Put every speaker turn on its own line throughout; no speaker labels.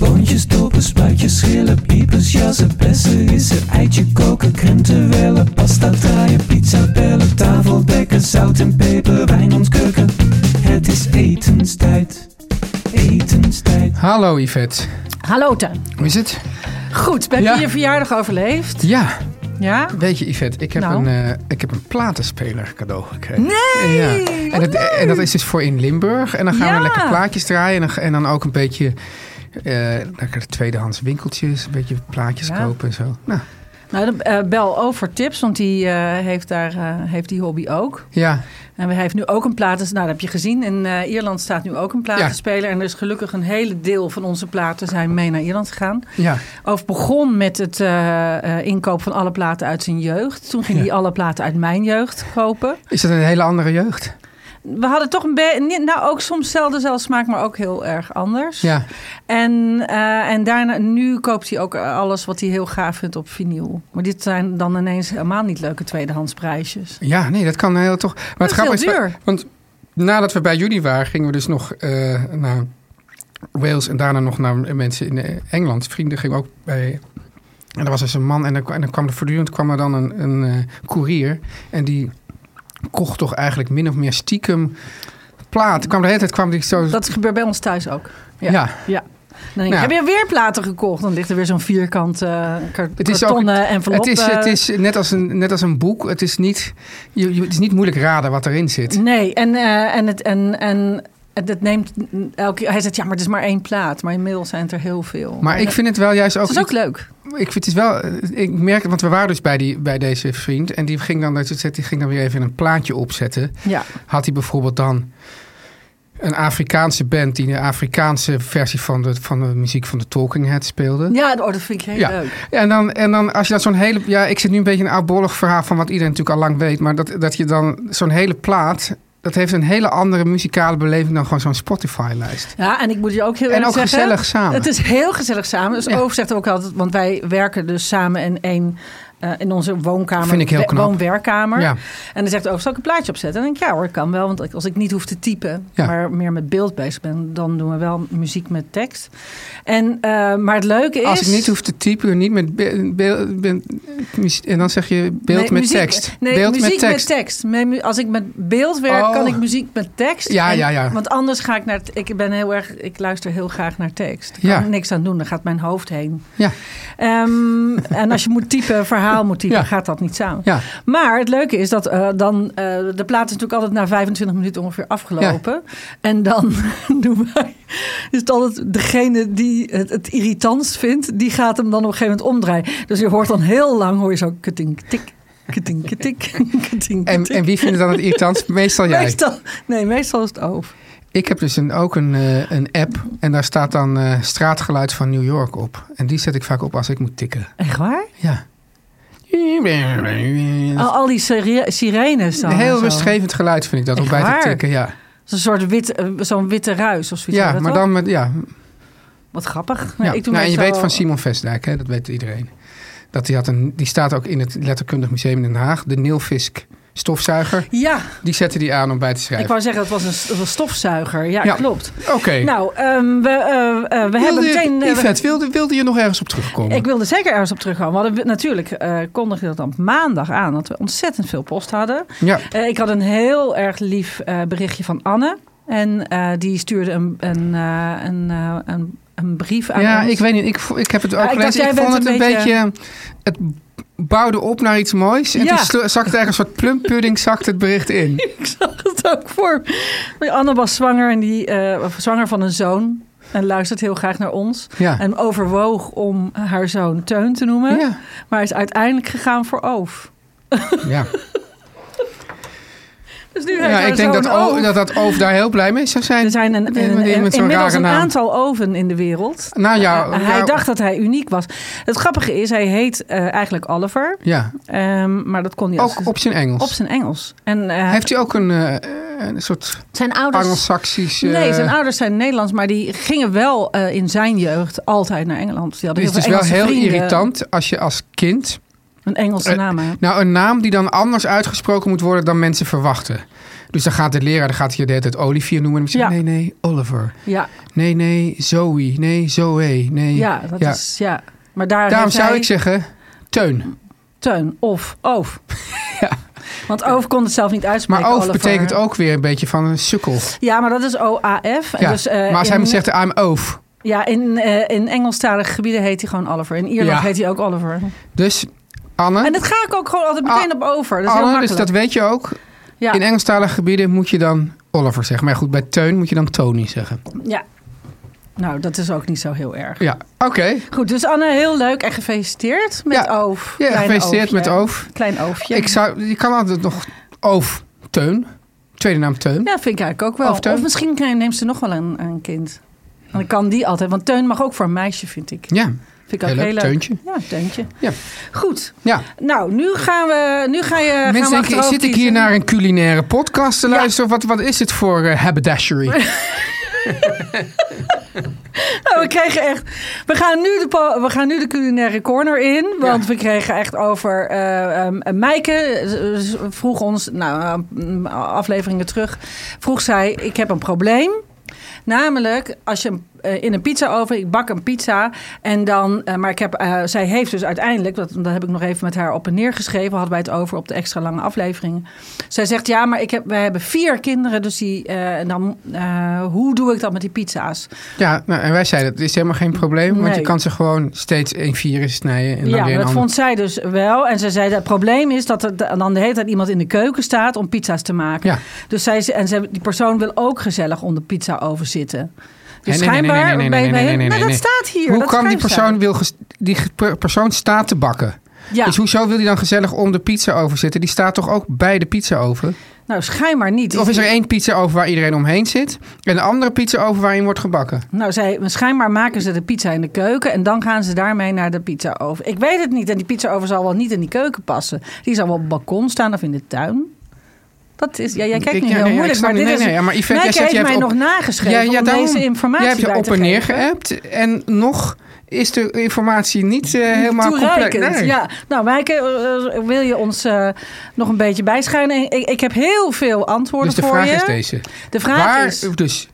Boontjes, dopen, spuitjes, schillen, piepers, jassen, bessen, rissen, eitje koken, krenten wellen, pasta draaien, pizza bellen, tafel dekken, zout en peper, wijn ontkurken. Het is etenstijd, etenstijd.
Hallo Yvette,
Hallo Teun.
hoe is het?
Goed, heb
Ja.
je je verjaardag overleefd?
Ja,
Ja?
weet je Yvette, ik heb,
Nou?
een, eh, ik heb een platenspeler cadeau gekregen.
Nee,
Ja.
wat
En, dat, en dat is dus voor in Limburg. En dan gaan we
Ja.
lekker plaatjes draaien en dan, en dan ook een beetje... eh lekker tweedehands winkeltjes, een beetje plaatjes
Ja.
kopen en zo. Nou,
Nou, dan, eh, bel over tips, want die eh, heeft, daar, eh, heeft die hobby ook.
ja,
En hij heeft nu ook een platen. Nou, dat heb je gezien. In eh, Ierland staat nu ook een platenspeler. En er is gelukkig een hele deel van onze platen zijn mee naar Ierland gegaan.
ja,
Of begon met het eh, eh, inkoop van alle platen uit zijn jeugd. Toen ging hij alle platen uit mijn jeugd kopen.
is dat een hele andere jeugd?
We hadden toch een beetje, nou ook soms zelden zelfs smaak, maar ook heel erg anders.
Ja,
En, eh, en daarna, nu koopt hij ook eh, alles wat hij heel gaaf vindt op vinyl. Maar dit zijn dan ineens helemaal niet leuke tweedehands prijsjes.
ja nee, dat kan eh, heel toch... Maar
Dat is heel
grappige is,
duur.
Want nadat we bij jullie waren, gingen we dus nog eh, naar Wales en daarna nog naar mensen in eh, Engeland. Vrienden gingen ook bij. En er was dus een man en dan, en dan kwam er voortdurend kwam er dan een, een eh, koerier. En die kocht toch eigenlijk min of meer stiekem plaat. Kwam de hele tijd kwam die zo.
Dat gebeurt bij ons thuis ook.
ja.
ja. Dan denk ik,
Nou.
heb je weer platen gekocht? Dan ligt er weer zo'n vierkant eh kar-
Het is ook-
kartonnen envelop.
Het is,
eh.
het is net, als een, net als een boek. Het is, niet, je, je- het is niet moeilijk raden wat erin zit.
Nee, en, eh, en, het, en, en het, het neemt elke Hij zegt, ja, maar het is maar één plaat. Maar inmiddels zijn het er heel veel.
Maar ik vind het wel juist ook.
Het is ook leuk.
Ik vind het wel, ik merk, want we waren dus bij, die, bij deze vriend. En die ging, dan, die ging dan weer even een plaatje opzetten.
Ja.
Had hij bijvoorbeeld dan een Afrikaanse band die een Afrikaanse versie van de, van de muziek van de Talking Heads speelde.
Ja, oh, dat vind ik heel
Ja.
leuk.
En, dan, en dan als je dan zo'n hele. Ja, ik zit nu een beetje in een oudbollig verhaal van wat iedereen natuurlijk al lang weet. Maar dat, dat je dan zo'n hele plaat. Dat heeft een hele andere muzikale beleving dan gewoon zo'n Spotify-lijst.
Ja, en ik moet je ook heel
En
erg
ook
zeggen...
gezellig samen.
Het is heel gezellig samen. Dus
Ja.
Oof zegt ook altijd... Want wij werken dus samen in één... eh, in onze woonkamer.
Vind ik heel
we-
knap.
Woonwerkkamer.
Ja.
En dan zegt Oof, zal ik een plaatje opzetten? En dan denk ik, ja hoor, kan wel. Want als ik niet hoef te typen...
Ja.
maar meer met beeld bezig ben... dan doen we wel muziek met tekst. En, eh, maar het leuke is...
Als ik niet hoef te typen, niet met be- be- be- muzie- en dan zeg je beeld
Nee,
met
muziek-
tekst.
Nee,
beeld
muziek met tekst. Met mu- Als ik met beeld werk,
Oh.
kan ik muziek met tekst.
Ja, ja, ja.
Want anders ga ik naar... t- Ik ben heel erg... Ik luister heel graag naar tekst. Ik
Ja.
kan er niks aan doen. Daar gaat mijn hoofd heen.
Ja,
Ehm, en als je moet typen, verhaal moet typen,
Ja.
gaat dat niet samen.
ja.
Maar het leuke is dat eh, dan... eh, de plaat is natuurlijk altijd na 25 minuten ongeveer afgelopen. En dan doen wij... Is het altijd degene die het, het irritantst vindt, die gaat hem dan op een gegeven moment omdraaien. Dus je hoort dan heel lang, hoor je zo ketink, tik, ketink, ketink, ketink,
En,
tik.
en wie vindt het dan het irritant? Meestal jij.
Meestal, nee, meestal is het over.
Ik heb dus een, ook een, eh, een app en daar staat dan eh, straatgeluid van New York op. En die zet ik vaak op als ik moet tikken.
Echt waar?
Ja.
Oh, Al, al die sire- sirenes dan.
Een
en
heel
zo.
rustgevend geluid vind ik dat om
Echt
bij te
waar?
tikken. Ja,
Zo'n soort wit, eh, zo'n witte ruis of zoiets. heet
ja
dat
maar
toch?
dan met. Ja,
Wat grappig.
ja.
Nee, ik doe
nou, en je
meestal-
weet van Simon Vestdijk, hè, dat weet iedereen. Dat die, had een, die staat ook in het Letterkundig Museum in Den Haag. De Nilfisk stofzuiger.
Ja,
Die zette die aan om bij te
ik
schrijven.
wou zeggen, het was een, s- een stofzuiger. Ja,
Ja.
klopt.
Oké.
Nou, ehm, we, eh, eh, we hebben
Wilde-
meteen... eh, we-
Yvette, wilde, wilde je nog ergens op terugkomen?
ik wilde zeker ergens op terugkomen. We hadden, natuurlijk eh kondigde dat dan maandag aan, dat we ontzettend veel post hadden.
ja.
Eh, ik had een heel erg lief eh, berichtje van Anne. En eh, die stuurde een, een, eh, een, eh, een, een brief aan
ja,
ons.
ik weet niet. Ik, vo- ik heb het ook
Ja, Ah, ik dacht,
gelezen. Ik,
jij
vond het
bent
een beetje...
een
Het bouwde op naar iets moois. En
Ja.
toen slo- zakte er een soort plumpudding zakt het bericht in.
Ik zag het ook voor. me. Anne was zwanger, en die, eh, of zwanger van een zoon. En luistert heel graag naar ons.
Ja.
En eh? overwoog om haar zoon Teun te noemen.
Ja.
Maar is uiteindelijk gegaan voor Oof.
Ja,
Dus nu heeft
ja
haar
ik denk
zoon
dat, o,
Oof.
dat dat Oof daar heel blij mee zou zijn.
Er zijn een,
Met-
een-
met- met zo'n
inmiddels
rare
een
naam.
aantal oven in de wereld.
Nou ja,
hij
ja,
dacht dat hij uniek was. Het grappige is, hij heet eh, eigenlijk Oliver.
Ja,
Ehm, maar dat kon hij als-
ook op zijn Engels.
op zijn Engels. En, eh,
Heeft hij ook een, eh, een soort
zijn ouders...
Anglo-Saxisch... eh,
Nee, zijn ouders zijn Nederlands, maar die gingen wel eh, in zijn jeugd altijd naar Engeland. Die
Het
hadden
is dus
heel
wel
veel
heel
Engelse vrienden.
irritant als je als kind...
Een Engelse
Eh,
naam, hè?
Nou, een naam die dan anders uitgesproken moet worden dan mensen verwachten. Dus dan gaat de leraar dan gaat hij de hele tijd Olivier noemen. En dan zegt, nee,
Ja.
nee, Oliver.
Ja,
Nee, nee, Zoe. Nee, Zoe. Nee.
ja, dat is... Ja. Maar daar
Daarom
heeft
zou
hij
ik zeggen, Teun.
Teun of Oof.
Ja.
Want Oof kon het zelf niet uitspreken.
Maar oof
Oliver.
betekent ook weer een beetje van een sukkel.
Ja, maar dat is O-A-F. En
Ja.
dus, eh,
maar als hij
in-
me zegt, I'm oof.
Ja, in, eh, in Engelstalige gebieden heet hij gewoon Oliver. In Ierland
Ja.
heet hij ook Oliver.
Dus, Anne,
En dat ga ik ook gewoon altijd meteen
Ah,
op over. Dat is heel
Anne dus
makkelijk.
dat weet je ook.
ja.
In Engelstalige gebieden moet je dan Oliver zeggen. Maar goed, bij Teun moet je dan Tony zeggen.
ja. Nou, dat is ook niet zo heel erg.
Ja, oké.
Goed, dus Anne, heel leuk en gefeliciteerd met
Ja.
Oof.
Ja,
Klein
gefeliciteerd
oofje.
met Oof.
Klein oofje.
Ik zou, je kan altijd nog Oof Teun. Tweede naam Teun.
Ja, vind ik eigenlijk ook wel.
Of Teun.
Of misschien kan- neemt ze nog wel een, een kind. En dan kan die altijd. Want Teun mag ook voor een meisje, vind ik.
Ja,
Vind ik
heel leuk.
ook heel leuk.
Teuntje.
Ja, Teuntje.
Ja.
Goed.
Ja.
Nou, nu gaan we... Nu ga je, gaan we
Mensen denken,
achterover
zit ik hier
kiezen.
naar een culinaire podcast te
Ja.
luisteren? Of wat, wat is het voor eh, haberdashery?
Nou, we kregen echt. We gaan nu de, po- we gaan nu de culinaire corner in. Want
Ja.
we kregen echt over. eh ehm, Mijke eh, z- vroeg ons. Nou, eh, afleveringen terug. Vroeg zij: Ik heb een probleem. Namelijk, als je een- eh, in een pizza oven, ik bak een pizza en dan, eh, maar ik heb, eh, zij heeft dus uiteindelijk, dat, dat heb ik nog even met haar op en neer geschreven, hadden wij het over op de extra lange aflevering. Zij zegt, ja, maar ik heb, wij hebben vier kinderen, dus die, eh, en dan, eh, hoe doe ik dat met die pizza's?
ja, nou, en wij zeiden, het is helemaal geen probleem. Want
Nee.
je kan ze gewoon steeds in vieren snijden. En dan
Ja,
weer
maar
een
dat
ander.
vond zij dus wel. En ze zei, het probleem is dat er dan de hele tijd iemand in de keuken staat om pizza's te maken.
Ja.
Dus zij, ze- en ze, die persoon wil ook gezellig onder pizza over zitten. Dus
Nee, nee, nee, nee,
schijnbaar...
nee, nee,
bij-
nee,
bij-
nee, nee, nee,
Maar dat
nee.
staat hier.
Hoe
dat
kan die
schrijft
persoon,
zij.
wil ges- die ge- per- persoon staat te bakken?
Ja.
Dus hoezo wil die dan gezellig om de pizza over zitten? Die staat toch ook bij de pizza over?
Nou, schijnbaar niet.
Of is er één pizza over waar iedereen omheen zit? En een andere pizza over waarin wordt gebakken?
Nou, zij, schijnbaar maken ze de pizza in de keuken en dan gaan ze daarmee naar de pizza over. Ik weet het niet. En die pizza over zal wel niet in die keuken passen. Die zal wel op het balkon staan of in de tuin. Dat is, ja, jij kijkt
Ik-
nu
ja,
heel
nee, ja, ik
moeilijk,
snap
maar
het.
dit
Nee,
is...
nee, ja, maar Yvette, jij
Mijke
zegt,
heeft
jij
mij
hebt
nog
op-
nageschreven om
daarom.
deze informatie
Jij hebt
bij
je op
te
en neer
geven.
geappt en nog is de informatie niet eh, helemaal compleet.
Toereikend,
Nee.
ja. Nou, Maaike, eh, wil je ons eh, nog een beetje bijschuinen? Ik, ik heb heel veel antwoorden
Dus de
voor
vraag
je.
is deze.
De vraag
waar,
is...
Dus,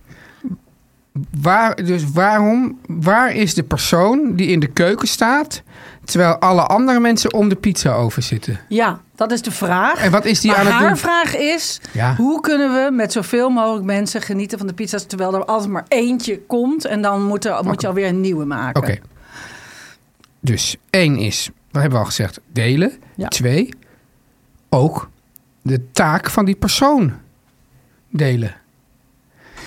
waar, dus waarom, waar is de persoon die in de keuken staat... terwijl alle andere mensen om de pizza over zitten?
Ja, dat is de vraag.
En wat is die
maar
aan het
haar
doen?
vraag is,
Ja.
hoe kunnen we met zoveel mogelijk mensen genieten van de pizza's... terwijl er altijd maar eentje komt en dan moet, er, moet je alweer een nieuwe maken.
Oké. Dus één is, wat hebben we al gezegd, delen.
Ja.
Twee, ook de taak van die persoon delen.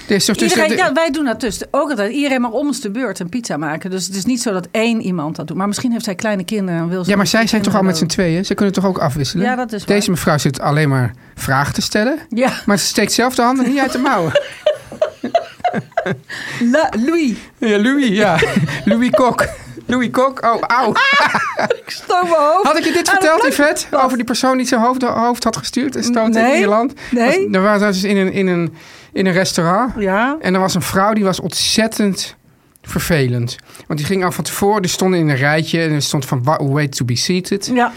Dus, dus, dus-
Iedereen,
de-
ja, wij doen dat dus ook altijd. Iedereen mag om ons de beurt een pizza maken. Dus het is niet zo dat één iemand dat doet. Maar misschien heeft zij kleine kinderen en wil ze...
Ja, maar
niet
zij
die
zijn toch al met z'n
kinderen
tweeën? Ze kunnen toch ook afwisselen?
Ja, dat is waar.
Deze mevrouw zit alleen maar vragen te stellen.
doden. Ja,
Maar ze steekt zelf de handen niet uit de mouwen.
La- Louis.
Ja, Louis, ja. Louis Kok. Louis Kok, oh, auw.
Stoom mijn hoofd.
Had ik je dit
Aan de
verteld,
plank.
Yvette? Over die persoon die zijn hoofd, hoofd had gestuurd en stoot in
Nee,
Ierland?
nee.
Was- Daar waren ze dus in een, in, een, in een restaurant.
Ja.
En er was een vrouw die was ontzettend vervelend. Want die ging al van tevoren, die stonden in een rijtje... en er stond van wa- wait to be seated.
Ja.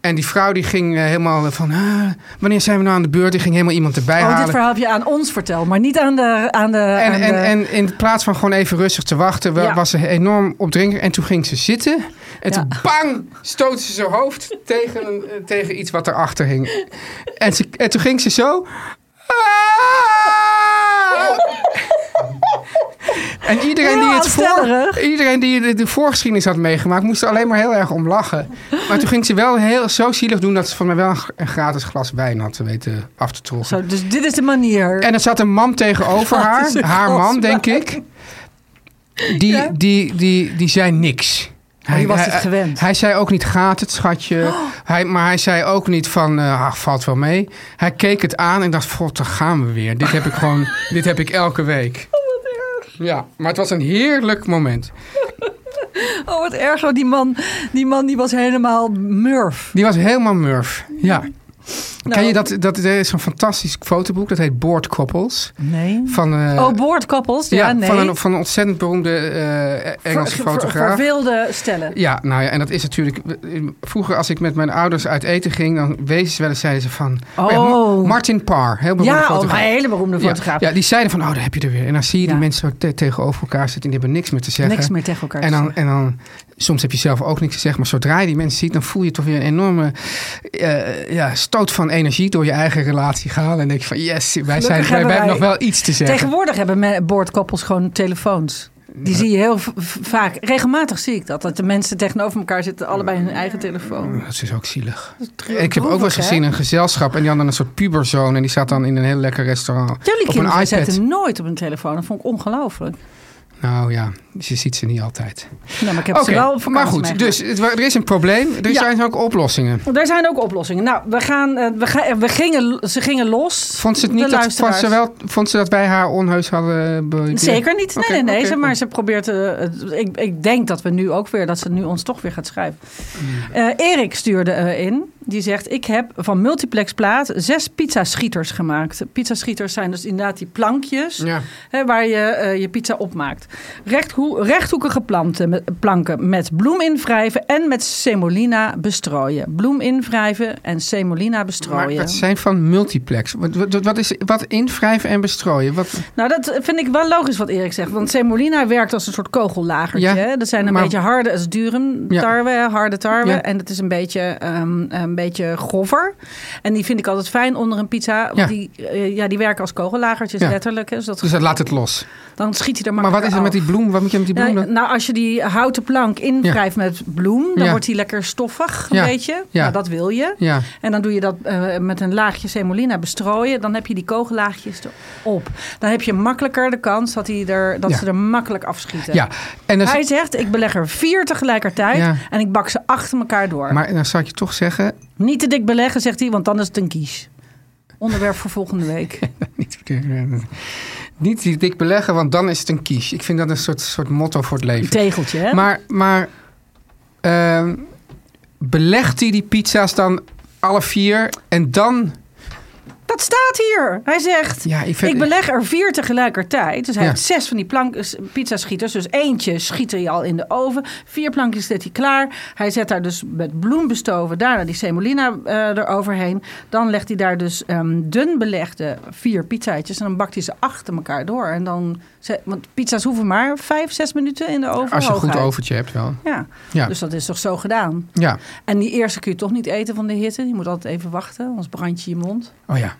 En die vrouw die ging eh, helemaal van... "Ah, wanneer zijn we nou aan de beurt? Die ging helemaal iemand erbij
Oh, dit
halen.
verhaal heb je aan ons verteld, maar niet aan de... Aan de
En,
eh, aan de-
en, en in plaats van gewoon even rustig te wachten, wa-
Ja.
was ze enorm opdrinken. En toen ging ze zitten. En
Ja.
toen bang stootte ze haar hoofd tegen, een- eh, tegen iets wat erachter hing. En, ze, en toen ging ze zo. Ah! En iedereen die,
Heel
het voor,
aanstellerig.
iedereen die de, de voorgeschiedenis had meegemaakt, moest er alleen maar heel erg om lachen. Maar toen ging ze wel heel, zo zielig doen dat ze van mij wel een gr- een gratis glas wijn had weten af te trokken.
Zo, dus dit is de manier.
En er zat een man tegenover haar,
Gratis een
haar
glas
man, denk
wijn.
ik. Die,
Ja. Oh,
die, die, die zei niks.
die was het gewend. Oh.
Hij zei ook niet gaat het, schatje. Hij, maar hij zei ook niet van, eh, ach, valt wel mee. Hij keek het aan en dacht, god, daar gaan we weer. Dit heb ik gewoon, dit heb ik elke week. Ja, maar het was een heerlijk moment.
Oh, wat erg. hoor. Die man, die man die was helemaal murf.
Die was helemaal murf. Ja. Ken
Nou.
je dat? Dat is een fantastisch fotoboek. Dat heet Board Couples.
Nee.
Van, eh,
oh, boordkoppels. Ja,
ja,
nee.
van, een, van een ontzettend beroemde eh, Engelse
Ver- ver-
fotograaf.
Verveelde stellen.
Ja, nou ja, en dat is natuurlijk. Vroeger, als ik met mijn ouders uit eten ging, dan wezen ze wel eens, zeiden ze van. ja,
Oh.
Ma- Martin Parr, heel beroemde
Ja, oh,
fotograaf.
een hele beroemde
Ja,
fotograaf.
Ja, die zeiden van, oh, daar heb je er weer. En dan zie je die
Ja.
mensen zo te- tegenover elkaar zitten en die hebben niks meer te zeggen.
Niks meer tegen elkaar te
en dan,
zeggen.
en dan, soms heb je zelf ook niks te zeggen, maar zodra je die mensen ziet, dan voel je toch weer een enorme eh, ja, stoot van energie door je eigen relatie gaan. En dan denk je van, yes, wij, zijn, wij,
hebben
wij hebben nog
wij-
wel iets te zeggen.
Tegenwoordig hebben me- boordkoppels gewoon telefoons. Die zie je heel v- v- vaak. Regelmatig zie ik dat. Dat de mensen tegenover elkaar zitten, allebei hun eigen telefoon.
Dat is dus ook zielig.
treurig,
ik heb ook wel eens
hè?
gezien een gezelschap en die hadden een soort puberzoon en die zat dan in een heel lekker restaurant.
Jullie
op een
kinderen
iPad.
zitten nooit op hun telefoon. Dat vond ik ongelooflijk.
Nou ja, dus je ziet ze niet altijd.
Nou, maar ik heb
Oké,
ze wel op vakantie
maar goed,
meegemaakt.
dus het wa- er is een probleem, er
Ja.
zijn ook oplossingen.
Er zijn ook oplossingen. Nou, we gaan, eh, we ga- we gingen, ze gingen los.
Vond ze, het
de
niet dat, vond,
luisteraars.
ze wel, vond ze dat wij haar onheus hadden be-
Zeker niet. Nee,
Oké,
nee, nee.
oké,
ze,
goed.
maar ze probeert. eh, het- ik, ik denk dat we nu ook weer. dat ze nu ons toch weer gaat schrijven.
Mm.
Eh, Erik stuurde eh, in. Die zegt: Ik heb van multiplex plaat zes pizzaschieters gemaakt. Pizzaschieters zijn dus inderdaad die plankjes.
Ja.
Hè, waar je eh, je pizza opmaakt. Rechthoe- rechthoekige planten, met- planken met bloem invrijven en met semolina bestrooien. Bloem invrijven en semolina
Maar
bestrooien.
dat zijn van multiplex. Wat, wat, wat is, wat invrijven en bestrooien? Wat,
Nou, dat vind ik wel logisch wat Erik zegt. Want semolina werkt als een soort kogellagertje.
Ja,
hè? dat zijn een
maar-
beetje harde als durum
Ja.
tarwe, hè, harde tarwe.
Ja.
En dat is een beetje, ehm, een beetje grover. En die vind ik altijd fijn onder een pizza. Want
Ja.
Die, eh, ja, die werken als kogellagertjes
Ja.
letterlijk. Hè, dus dat,
dus dat laat het los.
dan schiet hij er
Maar
makkelijk
wat is er met die bloem? Wat moet je met die bloem
nou,
dan?
nou, als je die houten plank invrijft met bloem, dan
Ja.
wordt die lekker stoffig,
Ja.
een beetje.
Ja.
Nou, dat wil je.
Ja.
En dan doe je dat eh, met een laagje semolina bestrooien. Dan heb je die kogellaagjes erop. Dan heb je makkelijker de kans dat, die er, dat
Ja.
ze er makkelijk afschieten.
Ja, en dan,
Hij zegt, ik beleg er vier tegelijkertijd
Ja.
en ik bak ze achter elkaar door.
maar dan zou ik je toch zeggen,
Niet te dik beleggen, zegt hij, want dan is het een kies. Onderwerp voor volgende week.
Niet, niet die dik beleggen, want dan is het een kies. Ik vind dat een soort, soort motto voor het
Een
leven.
tegeltje, hè?
Maar, maar ehm, belegt hij die pizza's dan alle vier en dan...
Dat staat hier. Hij zegt,
Ja, ik
ik,
vind-
beleg er vier tegelijkertijd. Dus hij
Ja.
heeft zes van die plank, s- pizzaschieters. Dus eentje schiet hij al in de oven. Vier plankjes zet hij klaar. Hij zet daar dus met bloem bestoven. Daarna die semolina eh eroverheen. Dan legt hij daar dus ehm, dun belegde vier pizzaatjes. En dan bakt hij ze achter elkaar door. En dan, zet- want pizza's hoeven maar vijf, zes minuten in de oven.
Als je een goed
hooguit.
overtje hebt wel.
Ja.
Ja.
dus dat is toch zo gedaan.
Ja.
En die eerste kun je toch niet eten van de hitte. Je moet altijd even wachten, anders brand je je mond.
Oh ja.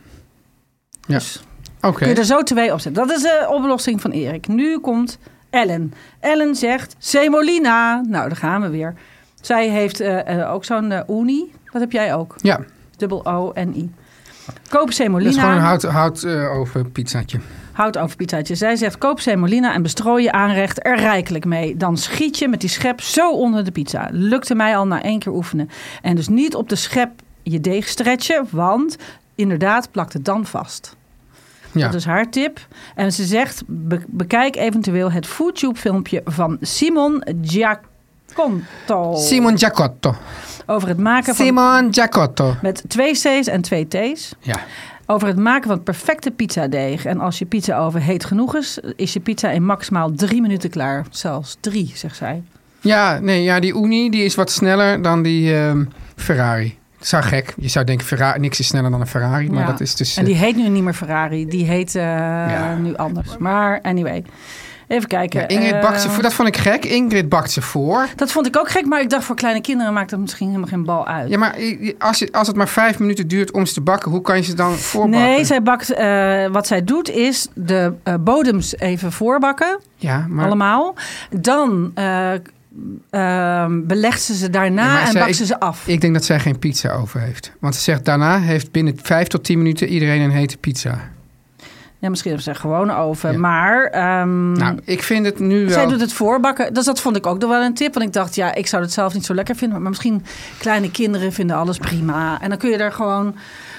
Ja,
Dus
oké.
Kun je er zo twee op zetten. Dat is de oplossing van Erik. Nu komt Ellen. Ellen zegt, Semolina. Nou, daar gaan we weer. Zij heeft eh, eh, ook zo'n eh, uni. Dat heb jij ook.
Ja,
Dubbel O-N-I. Koop
dat is
Semolina.
gewoon een hout, hout eh, over pizzaatje.
Houd over pizzaatje. Zij zegt, koop semolina en bestrooi je aanrecht er rijkelijk mee. Dan schiet je met die schep zo onder de pizza. Lukte mij al na één keer oefenen. En dus niet op de schep je deeg stretchen, want inderdaad plakt het dan vast.
Ja.
Dat is haar tip. En ze zegt, be- bekijk eventueel het YouTube-filmpje van Simon Giaconto.
Simon Giacotto.
Over het maken Oh. van...
Simon Giacotto.
Met twee C's en twee T's.
Ja.
Over het maken van het perfecte pizzadeeg. En als je pizza oven heet genoeg is, is je pizza in maximaal drie minuten klaar. Zelfs drie, zegt zij.
Ja, nee, ja, die Uni die is wat sneller dan die ehm, Ferrari. Dat zou gek. Je zou denken, Ferrari, niks is sneller dan een Ferrari. Maar
Ja.
dat is dus...
En
eh,
die heet nu niet meer Ferrari, die heet eh, nu anders. Maar anyway. Eh, Even kijken.
Ja, Ingrid bakt ze
Eh,
voor. Dat vond ik gek. Ingrid bakt ze voor.
Dat vond ik ook gek, maar ik dacht voor kleine kinderen maakt dat misschien helemaal geen bal uit.
Ja, maar i- i- als, je, als het maar vijf minuten duurt om ze te bakken, hoe kan je ze dan voorbakken?
Nee, zij bakt, eh, wat zij doet is de eh, bodems even voorbakken,
Ja, maar,
allemaal. Dan eh, eh, belegt ze ze daarna
Ja, maar
en
zij-
bakt ze ze af.
ik denk dat zij geen pizza over heeft. Want ze zegt, daarna heeft binnen vijf tot tien minuten iedereen een hete pizza.
Ja, misschien hebben ze er gewoon over,
Ja.
maar... ehm,
Nou, ik vind het nu wel...
Zij doet het voorbakken. Dus dat vond ik ook nog wel een tip. Want ik dacht, ja, ik zou het zelf niet zo lekker vinden. Maar misschien kleine kinderen vinden alles prima. En dan kun je er gewoon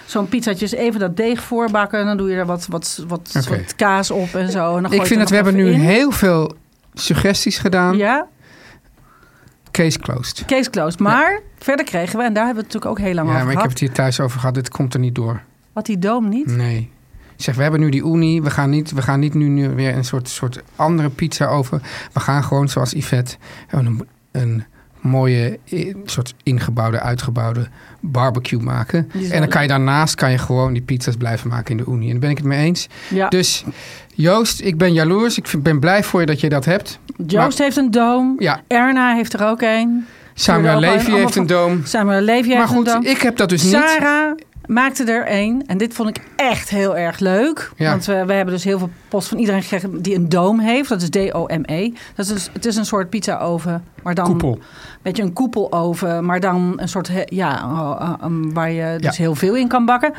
zo'n pizzatjes even dat deeg voorbakken. En dan doe je er wat, wat, wat,
Oké.
wat kaas op en zo. En dan gooi je
ik vind dat
het
we
er nog
hebben nu
even in.
heel veel suggesties gedaan.
Ja,
Case closed.
case closed. Maar verder kregen we, en daar hebben we het natuurlijk ook heel lang
Ja,
over
maar ik heb Mm.
gehad.
het hier thuis over gehad. Dit komt er niet door.
Wat die doom niet.
Nee. Ik zeg, we hebben nu die uni. We gaan niet, we gaan niet nu, nu weer een soort, soort andere pizza over. We gaan gewoon zoals Yvette een, een mooie eh, soort ingebouwde, uitgebouwde barbecue maken.
Die is
En dan
wel
kan je daarnaast kan je gewoon die pizza's blijven maken in de uni. En daar ben ik het mee eens.
Ja.
Dus Joost, ik ben jaloers. Ik vind- ben blij voor je dat je dat hebt.
Joost heeft een doom.
Ja,
Erna heeft er ook een.
Samuel
Doe er ook
Levy
een,
heeft een doom.
Samuel Levi heeft
Maar
een doom.
goed, ik heb dat dus niet.
Sarah maakte er een. En dit vond ik echt heel erg leuk.
Ja.
Want we, we hebben dus heel veel post van iedereen gekregen die een doom heeft. Dat is D-O-M-E. Dat is dus, het is een soort pizzaoven. Maar dan
Koepel.
een beetje een koepeloven. Maar dan een soort, he- ja, oh, oh, um, waar je dus
Ja.
heel veel in kan bakken.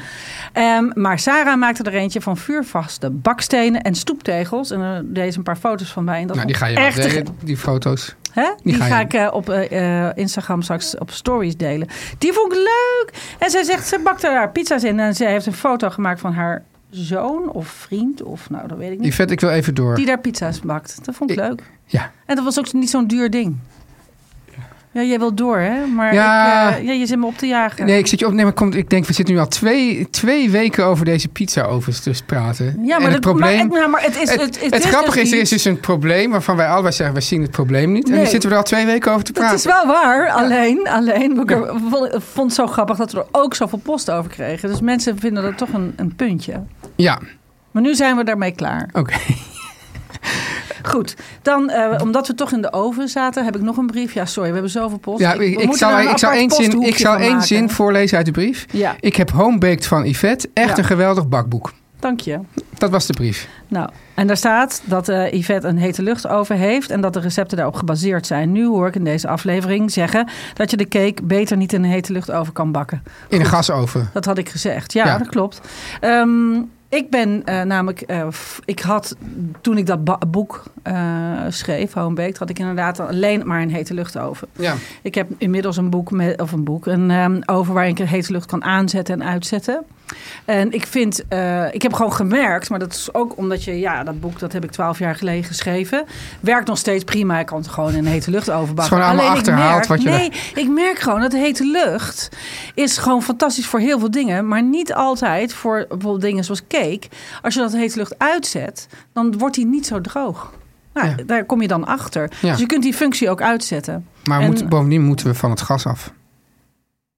Ehm, maar Sarah maakte er eentje van vuurvaste bakstenen en stoeptegels. En er deed ze een paar foto's van mij. En dat
Nou, die
vond
ga je
ik
wel
echt te
delen, die foto's.
Hè? Die,
ga
ga,
je
ik eh, op eh, eh, Instagram straks op stories delen. Die vond ik leuk. En zij zegt, ze bakt er haar pizza's in. En zij heeft een foto gemaakt van haar zoon of vriend. Of nou, dat weet ik niet.
Yvette, ik wil even door.
Die daar pizza's bakt. Dat vond ik
Ik-
leuk.
Ja.
En dat was ook niet zo'n duur ding. Ja, jij wil door, hè? Maar
Ja.
ik, eh, ja, je zit me op te jagen.
Nee, ik zit je op. Nee, maar komt, ik denk, we zitten nu al twee, twee weken over deze pizzaovens dus praten.
Ja,
En
maar,
het
dat- maar-
probleem.
maar, maar het
het,
is het,
het,
het is
grappige
dus
is, er is
iets.
dus een probleem waarvan wij allebei zeggen, wij zien het probleem niet. En nu
Nee.
zitten we er al twee weken over te
Dat
praten.
is wel waar, alleen, alleen ik er- vond- vond het zo grappig dat we er ook zoveel post over kregen. Dus mensen vinden dat toch een, een puntje.
Ja,
Maar nu zijn we daarmee klaar.
oké.
Goed, dan eh, omdat we toch in de oven zaten, heb ik nog een brief. Ja, sorry, we hebben zoveel post.
Ja,
We
ik, ik
moeten
zal,
daar een
ik zal
apart
één, zin, ik
posthoekje
zal
van
één
maken.
zin voorlezen uit de brief.
Ja,
Ik heb homebaked van Yvette. Echt
Ja.
een geweldig bakboek.
dank je.
Dat was de brief.
Nou, en daar staat dat eh, Yvette een hete lucht over heeft en dat de recepten daarop gebaseerd zijn. Nu hoor ik in deze aflevering zeggen dat je de cake beter niet in een hete lucht over kan bakken.
In een gasoven.
Dat had ik gezegd. Ja,
Ja.
dat klopt. Ehm, ik ben eh, namelijk, eh, f- ik had toen ik dat ba- boek eh, schreef, Homebaked, had ik inderdaad alleen maar een hete lucht over.
Ja.
Ik heb inmiddels een boek, met, of een boek een, ehm, over waarin ik hete lucht kan aanzetten en uitzetten. En ik vind, eh, ik heb gewoon gemerkt, maar dat is ook omdat je, ja, dat boek, dat heb ik twaalf jaar geleden geschreven, werkt nog steeds prima. Ik kan het gewoon in hete lucht overbakken.
Het is gewoon allemaal
Alleen
achterhaald
ik
wat
merk,
je
Nee, ik merk gewoon dat hete lucht is gewoon fantastisch voor heel veel dingen, maar niet altijd voor bijvoorbeeld dingen zoals cake. Als je dat hete lucht uitzet, dan wordt die niet zo droog. Nou,
Ja.
daar kom je dan achter.
Ja.
Dus je kunt die functie ook uitzetten.
Maar
En-
moet, bovendien moeten we van het gas af.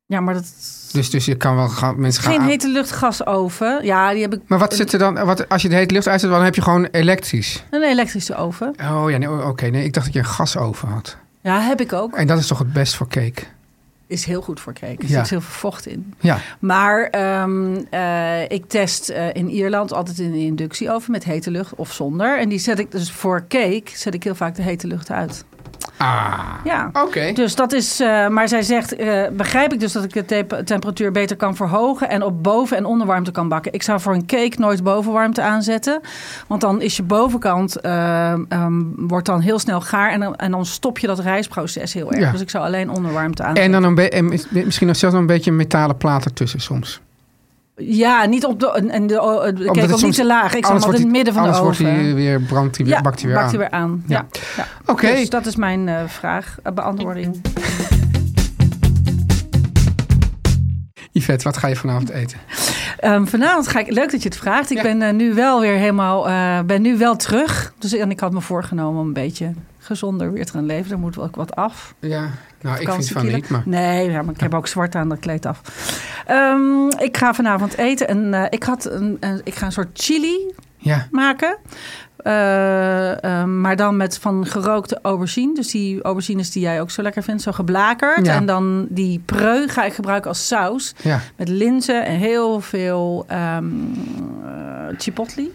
Ja, maar dat
Dus, dus je kan wel gaan, mensen gaan
geen
aan-
hete luchtgasoven. Ja, die heb ik
Maar wat zit er dan, wat, als je de hete lucht uitzet, dan heb je gewoon elektrisch.
een elektrische oven.
Oh ja, nee, oké. nee, ik dacht dat je een gasoven had.
Ja, heb ik ook.
En dat is toch het best voor cake?
Is heel goed voor cake. Er
Ja.
zit heel veel vocht in.
Ja.
Maar ehm, eh, ik test eh, in Ierland altijd in een inductieoven met hete lucht of zonder. En die zet ik dus voor cake zet ik heel vaak de hete lucht uit.
Ah.
Ja.
Oké.
Dus dat is, eh, maar zij zegt, eh, begrijp ik dus dat ik de tep- temperatuur beter kan verhogen en op boven- en onderwarmte kan bakken. Ik zou voor een cake nooit bovenwarmte aanzetten, want dan is je bovenkant, eh, ehm, wordt dan heel snel gaar en dan, en dan stop je dat rijstproces heel erg.
Ja.
Dus ik zou alleen onderwarmte aanzetten.
En dan een be- en mis- misschien nog zelfs nog een beetje een metalen plaat ertussen soms.
Ja, niet op de, en de, oh, de cake
het
ook niet
soms-
te laag. Ik zou hem
Anders
altijd in het midden van de
anders
oven.
wordt hij weer, brandt hij weer,
ja,
bakt hij weer aan.
Ja. ja.
Oké.
Dus dat is mijn eh, vraag, eh, beantwoording.
Yvette, wat ga je vanavond eten?
Ehm, vanavond ga ik. Leuk dat je het vraagt. Ik
Ja.
ben eh, nu wel weer helemaal. eh, ben nu wel terug. Dus en ik had me voorgenomen om een beetje gezonder weer te gaan leven. Er moet wel ook wat af.
Ja. Nou, ik vind van
Vakantiekielen.
niet, maar...
Nee, ja, maar ik heb ook zwart aan dat kleed af. Ehm, ik ga vanavond eten en eh, ik had een, een- ik ga een soort chili
Ja.
maken. Eh, eh, maar dan met van gerookte aubergine. Dus die aubergines die jij ook zo lekker vindt, zo geblakerd.
Ja.
En dan die preu ga ik gebruiken als saus.
Ja.
Met linzen en heel veel ehm, eh, chipotle.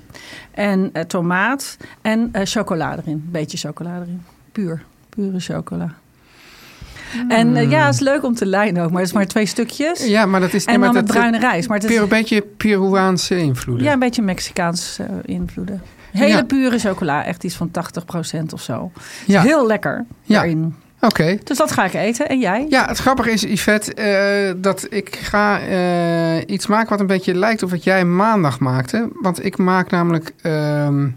En eh, tomaat. En eh chocolade erin. Beetje chocolade erin. Puur. Pure chocola. En eh, ja, het is leuk om te lijnen ook. Maar het is maar twee stukjes.
Hmm. ja, maar dat is... nee,
en dan
maar
met
dat-
bruine rijst. Maar het is
Peru- een beetje Peruaanse invloeden.
ja, een beetje Mexicaans eh, invloeden. Hele
Ja.
pure chocola, echt iets van 80% of zo.
Ja.
Heel lekker
Ja.
daarin.
Oké.
Dus dat ga ik eten. En jij?
Ja, het grappige is, Yvette, eh, dat ik ga eh, iets maken wat een beetje lijkt op wat jij maandag maakte. Want ik maak namelijk ehm,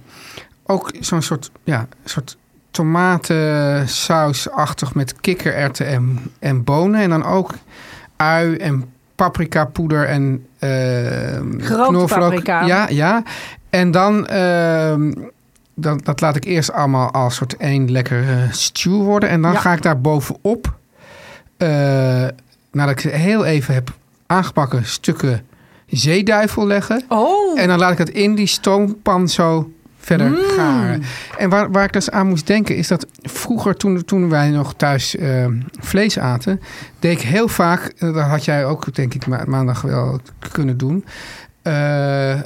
ook zo'n soort, ja, soort tomatensausachtig met kikkererwten en, en bonen. En dan ook ui en paprika poeder en ehm
Gerookte
knoflook.
paprika.
Ja, ja. En dan... ehm, dan, dat laat ik eerst allemaal als soort één lekkere stew worden. En dan
Ja.
ga ik daar bovenop eh, nadat ik ze heel even heb aangebakken, stukken zeeduivel leggen.
Oh,
En dan laat ik dat in die stoompan zo verder
Mm.
garen. En waar, waar ik dus aan moest denken is dat vroeger, toen, toen wij nog thuis eh, vlees aten, deed ik heel vaak, eh, dat had jij ook denk ik ma- maandag wel k- kunnen doen, eh,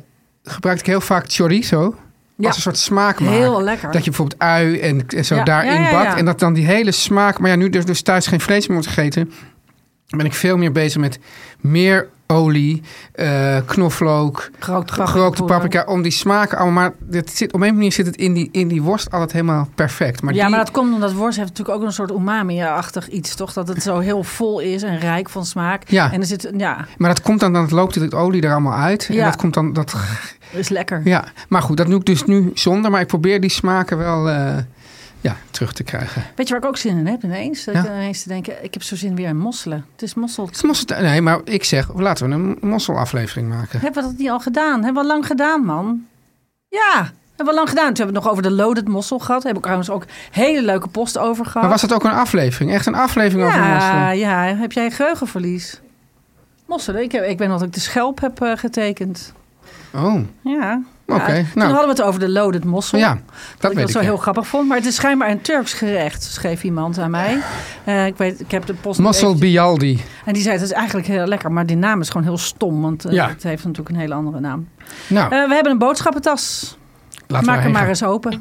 gebruikte ik heel vaak chorizo.
Ja.
Als een soort smaak maken.
heel lekker.
Dat je bijvoorbeeld ui en, en zo
Ja,
daarin
ja, ja,
bakt.
ja.
En dat dan die hele smaak. Maar ja, nu dus, dus thuis geen vlees meer wordt gegeten. Ben ik veel meer bezig met meer olie, eh, knoflook,
Gerookte paprika.
gerookte paprika. Om die smaken allemaal. Maar dit zit, op een manier zit het in die, in die worst altijd helemaal perfect. Maar
ja,
die,
maar dat komt omdat worst heeft natuurlijk ook een soort umami-achtig iets, toch? Dat het zo heel vol is en rijk van smaak.
Ja.
En er zit, ja,
maar dat komt dan, dan loopt het olie er allemaal uit. En
Ja.
dat komt dan, dat,
is lekker.
ja. Maar goed, dat doe ik dus nu zonder. Maar ik probeer die smaken wel eh, ja, terug te krijgen.
Weet je waar ik ook zin in heb ineens? Dat ik
Ja.
dan ineens te denken, ik heb zo zin weer in mosselen. Het is mossel.
Het is mossel- nee, maar ik zeg, laten we een mosselaflevering maken.
Hebben we dat niet al gedaan? Hebben we al lang gedaan, man? Ja, hebben we lang gedaan. Toen hebben we het nog over de loaded mossel gehad. Daar heb ik trouwens ook hele leuke post over gehad.
Maar was dat ook een aflevering? Echt een aflevering over
ja,
mosselen?
ja, heb jij geheugenverlies? Mosselen, ik, heb, ik ben dat ik de schelp heb eh, getekend.
Oh,
Ja.
Oké,
Ja, Toen
nou.
hadden we het over de loaded mossel.
ja, dat weet
ik dat
ik.
zo
ja.
heel grappig vond. Maar het is schijnbaar een Turks gerecht, schreef iemand aan mij. Eh, ik, weet, ik heb de post...
Mossel
eventjes-
Bialdi.
En die zei, het is eigenlijk heel lekker. Maar die naam is gewoon heel stom. Want eh,
Ja.
het heeft natuurlijk een hele andere naam.
Nou,
Eh, we hebben een boodschappentas.
laten we
Maak hem
heen
maar
gaan.
eens open.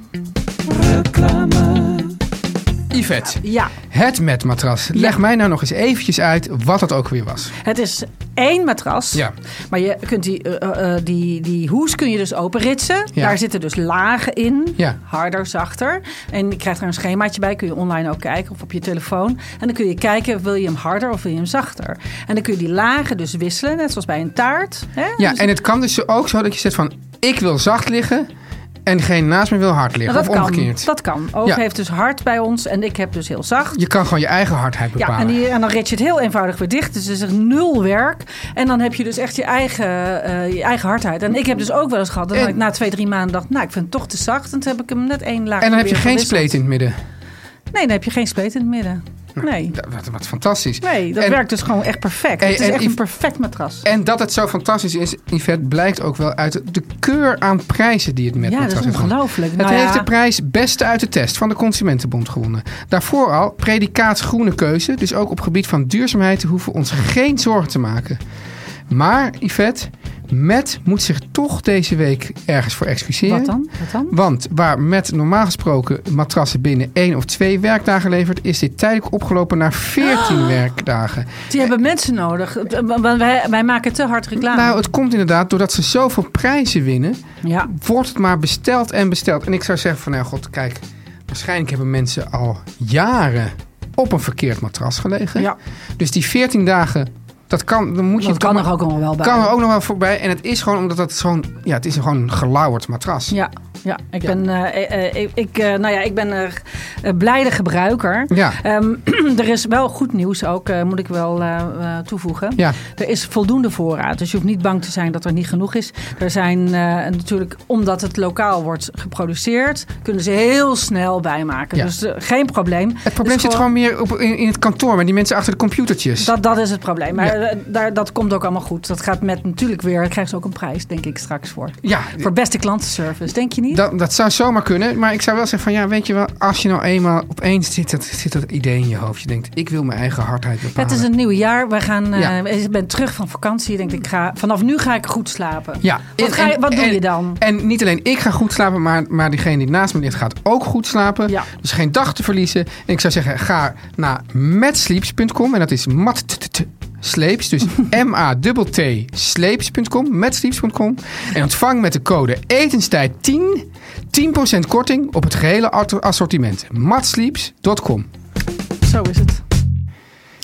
Yvette,
Ja,
het met matras. Leg mij nou nog eens eventjes uit wat dat ook weer was.
het is één matras.
Ja.
Maar je kunt die, eh, eh, die, die hoes kun je dus openritsen.
Ja.
Daar zitten dus lagen in.
Ja.
Harder, zachter. En je krijgt er een schemaatje bij. Kun je online ook kijken of op je telefoon. En dan kun je kijken, wil je hem harder of wil je hem zachter? En dan kun je die lagen dus wisselen. Net zoals bij een taart. Hè?
Ja,
Dus-
en het kan dus ook zo dat je zegt van... ik wil zacht liggen en degene naast me wil hard liggen.
Nou, dat,
of
kan,
omgekeerd.
dat kan. Ook
Ja.
heeft dus hard bij ons. En ik heb dus heel zacht.
Je kan gewoon je eigen hardheid bepalen.
Ja, en, die, en dan rit je het heel eenvoudig weer dicht. Dus er is echt nul werk. En dan heb je dus echt je eigen, eh, je eigen hardheid. En ik heb dus ook wel eens gehad dat
En-
ik na twee, drie maanden dacht... nou, ik vind het toch te zacht. En toen heb ik hem net één laag
En dan heb je
weer
geen
gewisseld.
spleet in het midden.
Nee, dan heb je geen spleet in het midden. Nee,
Dat- Wat, wat fantastisch.
nee dat
en,
werkt dus gewoon echt perfect.
En-
het is
en
echt
Yves-
een perfect matras.
En dat het zo fantastisch is, Yvette, blijkt ook wel uit de keur aan prijzen die het met
ja,
matras
dat is
heeft gewonnen.
ongelooflijk.
Het
Nou
heeft
ja,
de prijs Beste uit de Test van de Consumentenbond gewonnen. Daarvoor al predicaat groene keuze, dus ook op gebied van duurzaamheid hoeven we ons geen zorgen te maken. Maar Yvette, Met moet zich toch deze week ergens voor excuseren.
Wat dan? Wat dan?
Want waar Met normaal gesproken matrassen binnen één of twee werkdagen levert, is dit tijdelijk opgelopen naar 14
Oh.
werkdagen.
Die hebben mensen nodig. Eh, Want Wij, wij maken te hard reclame.
Nou, het komt inderdaad doordat ze zoveel prijzen winnen,
ja.
wordt het maar besteld en besteld. En ik zou zeggen van, nou god, kijk, waarschijnlijk hebben mensen al jaren op een verkeerd matras gelegen.
Ja.
Dus die 14 dagen, dat kan, dan moet je
Dat kan
maar-
er ook nog wel bij.
kan er ook nog wel voorbij. En het is gewoon omdat dat zo'n, ja, het is gewoon een gelauwerd matras.
Ja, ja. Ik, Ben, eh, eh, eh, ik, eh, nou ja, ik ben eh, eh, blijde gebruiker.
Ja.
Ehm, er is wel goed nieuws ook, eh, moet ik wel eh, eh, toevoegen.
Ja.
Er is voldoende voorraad, dus je hoeft niet bang te zijn dat er niet genoeg is. Er zijn eh, natuurlijk, omdat het lokaal wordt geproduceerd, kunnen ze heel snel bijmaken.
Ja.
Dus eh, geen probleem.
Het probleem
Dus
zit gewoon meer op, in, in het kantoor met die mensen achter de computertjes.
dat, dat is het probleem. Maar
Ja.
eh, daar, dat komt ook allemaal goed. Dat gaat met natuurlijk weer, daar krijgen ze ook een prijs, denk ik, straks voor.
Ja,
Voor beste klantenservice, denk je niet?
dat, dat zou zomaar kunnen. Maar ik zou wel zeggen van ja, weet je wel, als je nou eenmaal opeens zit dat, zit dat idee in je hoofd. Je denkt, ik wil mijn eigen hardheid bepalen.
Het is een nieuw jaar. We gaan, eh,
Ja.
Ik ben terug van vakantie. Ik denk, ik ga, vanaf nu ga ik goed slapen.
Ja.
Wat,
En-
ga je,
en-
wat doe
en-
je dan?
En niet alleen ik ga goed slapen, maar, maar diegene die naast me ligt gaat ook goed slapen.
Ja.
Dus geen dag te verliezen. En ik zou zeggen, ga naar matsleeps.com. En dat is mat t- t- sleeps. Dus m-a-t-t sleeps.com. Matsleeps.com. En ontvang met de code etenstijd 10 10% korting op het gehele art- assortiment. matsleeps.com.
Zo is het.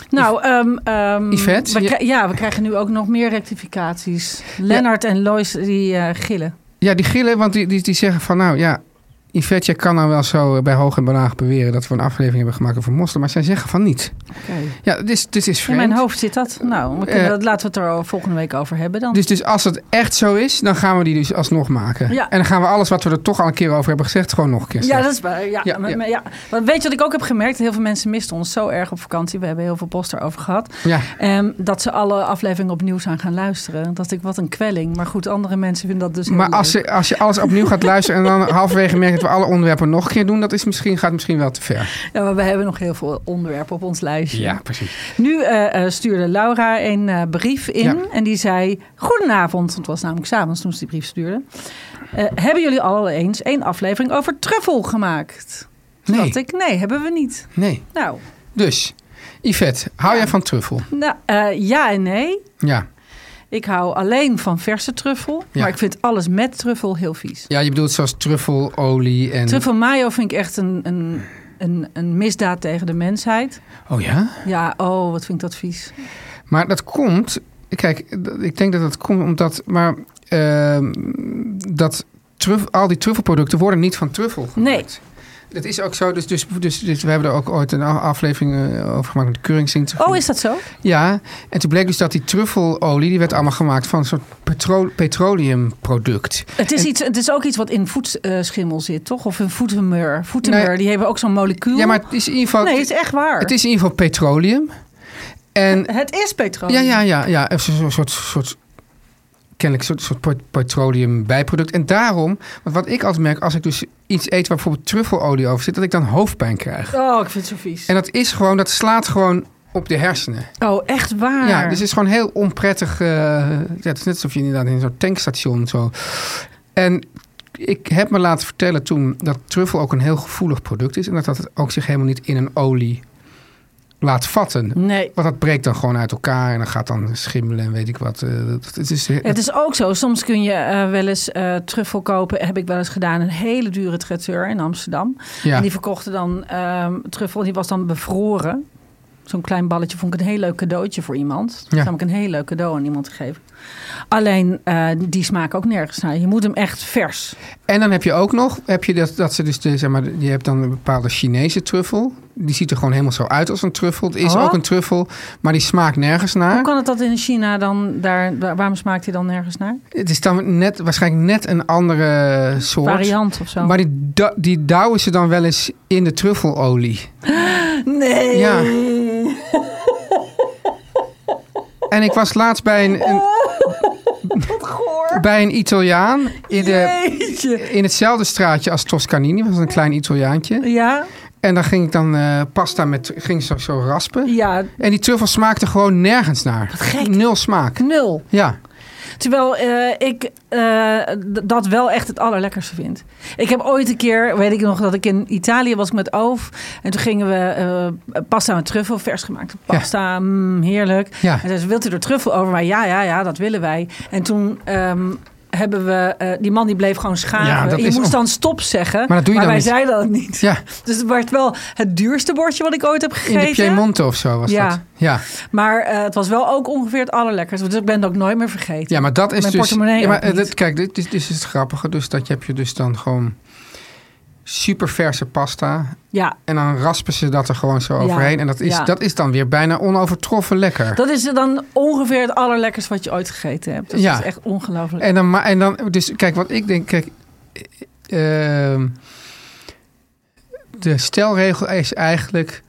Nou, ehm, ehm,
Yvette,
we
je-
krij- ja, we krijgen nu ook nog meer rectificaties. Lennart en Lois, die eh, gillen.
Ja, die gillen, want die, die, die zeggen van nou ja. Yvette, jij kan nou wel zo bij hoog en belaag beweren dat we een aflevering hebben gemaakt over mosselen, maar zij zeggen van niet. Ja, dus, dus is
In
vreemd.
mijn hoofd zit dat. Nou, we kunnen,
Eh.
dat, laten we het er volgende week over hebben dan.
Dus, dus als het echt zo is, dan gaan we die dus alsnog maken.
Ja.
En dan gaan we alles wat we er toch al een keer over hebben gezegd, gewoon nog een keer
ja,
zeggen.
dat is waar. Ja,
Ja,
maar-
ja.
maar ja. Want weet je wat ik ook heb gemerkt? Heel veel mensen misten ons zo erg op vakantie. We hebben heel veel post erover gehad.
Ja.
Ehm, dat ze alle afleveringen opnieuw zijn gaan luisteren. Dat ik wat een kwelling. Maar goed, andere mensen vinden dat dus heel
Maar als
leuk.
je, als je alles opnieuw gaat luisteren en dan halverwege merkt dat we alle onderwerpen nog een keer doen, dat is misschien, gaat misschien wel te ver.
Ja, maar we hebben nog heel veel onderwerpen op ons lijstje.
precies.
Nu eh, eh, stuurde Laura een eh, brief in
Ja.
en die zei: Goedenavond, want het was namelijk s'avonds toen ze die brief stuurde. Eh, hebben jullie al eens één aflevering over truffel gemaakt? Toen
Nee.
dacht ik: Nee, hebben we niet.
Nee.
Nou,
Dus, Yvette, hou jij van truffel?
nou eh, ja en nee.
Ja.
Ik hou alleen van verse truffel,
Ja.
maar ik vind alles met truffel heel vies.
Ja, je bedoelt zoals truffelolie en...
Truffel mayo vind ik echt een, een, een, een misdaad tegen de mensheid.
Oh ja?
Ja, oh, wat vind ik dat vies.
Maar dat komt. Kijk, d- ik denk dat dat komt omdat. Maar. ehm, dat truff, al die truffelproducten worden niet van truffel gemaakt. Dat is ook zo. Dus, dus, dus, dus we hebben er ook ooit een a- aflevering eh, over gemaakt met Keuringsing.
Oh, is dat zo?
Ja, en toen bleek dus dat die truffelolie... die werd allemaal gemaakt van een soort petro- petroleumproduct.
Het is, iets, het is ook iets wat in voetschimmel zit, toch? Of in voetemur. Voetemur,
Nee.
die hebben ook zo'n molecuul.
Ja, maar het is in ieder geval...
nee, het is echt waar.
het is in ieder geval petroleum. En
Het is petroleum.
Ja, ja, ja, ja. Een soort, soort, soort kennelijk soort, soort pet- petroleum bijproduct. En daarom, want wat ik altijd merk als ik dus iets eet waar bijvoorbeeld truffelolie over zit, dat ik dan hoofdpijn krijg.
Oh, ik vind het zo vies.
En dat is gewoon, dat slaat gewoon op de hersenen.
Oh, echt waar.
Ja, dus het is gewoon heel onprettig. eh, ja, het is net alsof je inderdaad in zo'n tankstation zo. En ik heb me laten vertellen toen dat truffel ook een heel gevoelig product is en dat dat ook zich helemaal niet in een olie laat vatten.
Nee.
Want dat breekt dan gewoon uit elkaar en dan gaat dan schimmelen en weet ik wat. eh, dat- Het is,
Het is ook zo, soms kun je eh, wel eens eh, truffel kopen. Heb ik wel eens gedaan, een hele dure traiteur in Amsterdam.
ja.
En die verkochten dan ehm, truffel, die was dan bevroren. Zo'n klein balletje vond ik een heel leuk cadeautje voor iemand. Dat
Ja.
was namelijk een heel leuk cadeau aan iemand gegeven. Alleen, eh, die smaakt ook nergens naar. Je moet hem echt vers.
En dan heb je ook nog, heb je dat, dat ze dus, de, zeg maar, je hebt dan een bepaalde Chinese truffel. Die ziet er gewoon helemaal zo uit als een truffel. Het is
Oh.
ook een truffel, maar die smaakt nergens naar.
Hoe kan het dat in China dan daar, waar- waarom smaakt hij dan nergens naar?
Het is dan net, waarschijnlijk net een andere soort.
Variant of zo.
Maar die, da- die douwen ze dan wel eens in de truffelolie.
nee.
Ja. En ik was laatst bij een, een- bij een Italiaan in de...
Jeetje.
In hetzelfde straatje als Toscanini, was een klein Italiaantje.
Ja,
En dan ging ik dan eh, pasta met, ging zo, zo raspen.
ja,
En die truffel smaakte gewoon nergens naar.
gek.
Nul smaak.
nul.
Ja.
Terwijl eh, ik eh, d- dat wel echt het allerlekkerste vind. Ik heb ooit een keer, weet ik nog, dat ik in Italië was ik met Oof. En toen gingen we eh, pasta met truffel, vers gemaakte pasta, mm, heerlijk.
Ja.
En zei ze, wilt u er truffel over? Maar ja, ja, ja, dat willen wij. En toen... ehm, hebben we, eh, die man die bleef gewoon schaven.
Ja, dat
En je
is
moest
on-
dan stop zeggen.
Maar dat doe je dan
wij
niet.
zeiden dat niet.
ja.
Dus het werd wel het duurste bordje wat ik ooit heb
In
gegeten.
de Piemonte of zo was
Ja.
dat. Ja.
Maar eh, het was wel ook ongeveer het allerlekkerste. Dus ik ben het ook nooit meer vergeten.
ja, maar dat is
Mijn
dus...
portemonnee
ja, maar
ook niet.
eh, dit- kijk, dit is, dit is het grappige. Dus dat je heb je dus dan gewoon superverse pasta.
ja,
En dan raspen ze dat er gewoon zo
Ja.
overheen. En dat is,
Ja.
dat is dan weer bijna onovertroffen lekker.
Dat is dan ongeveer het allerlekkerste wat je ooit gegeten hebt. Dat
Ja.
is echt ongelooflijk.
En dan, ma- en dan, dus kijk, wat ik denk, kijk, eh, ehm, de stelregel is eigenlijk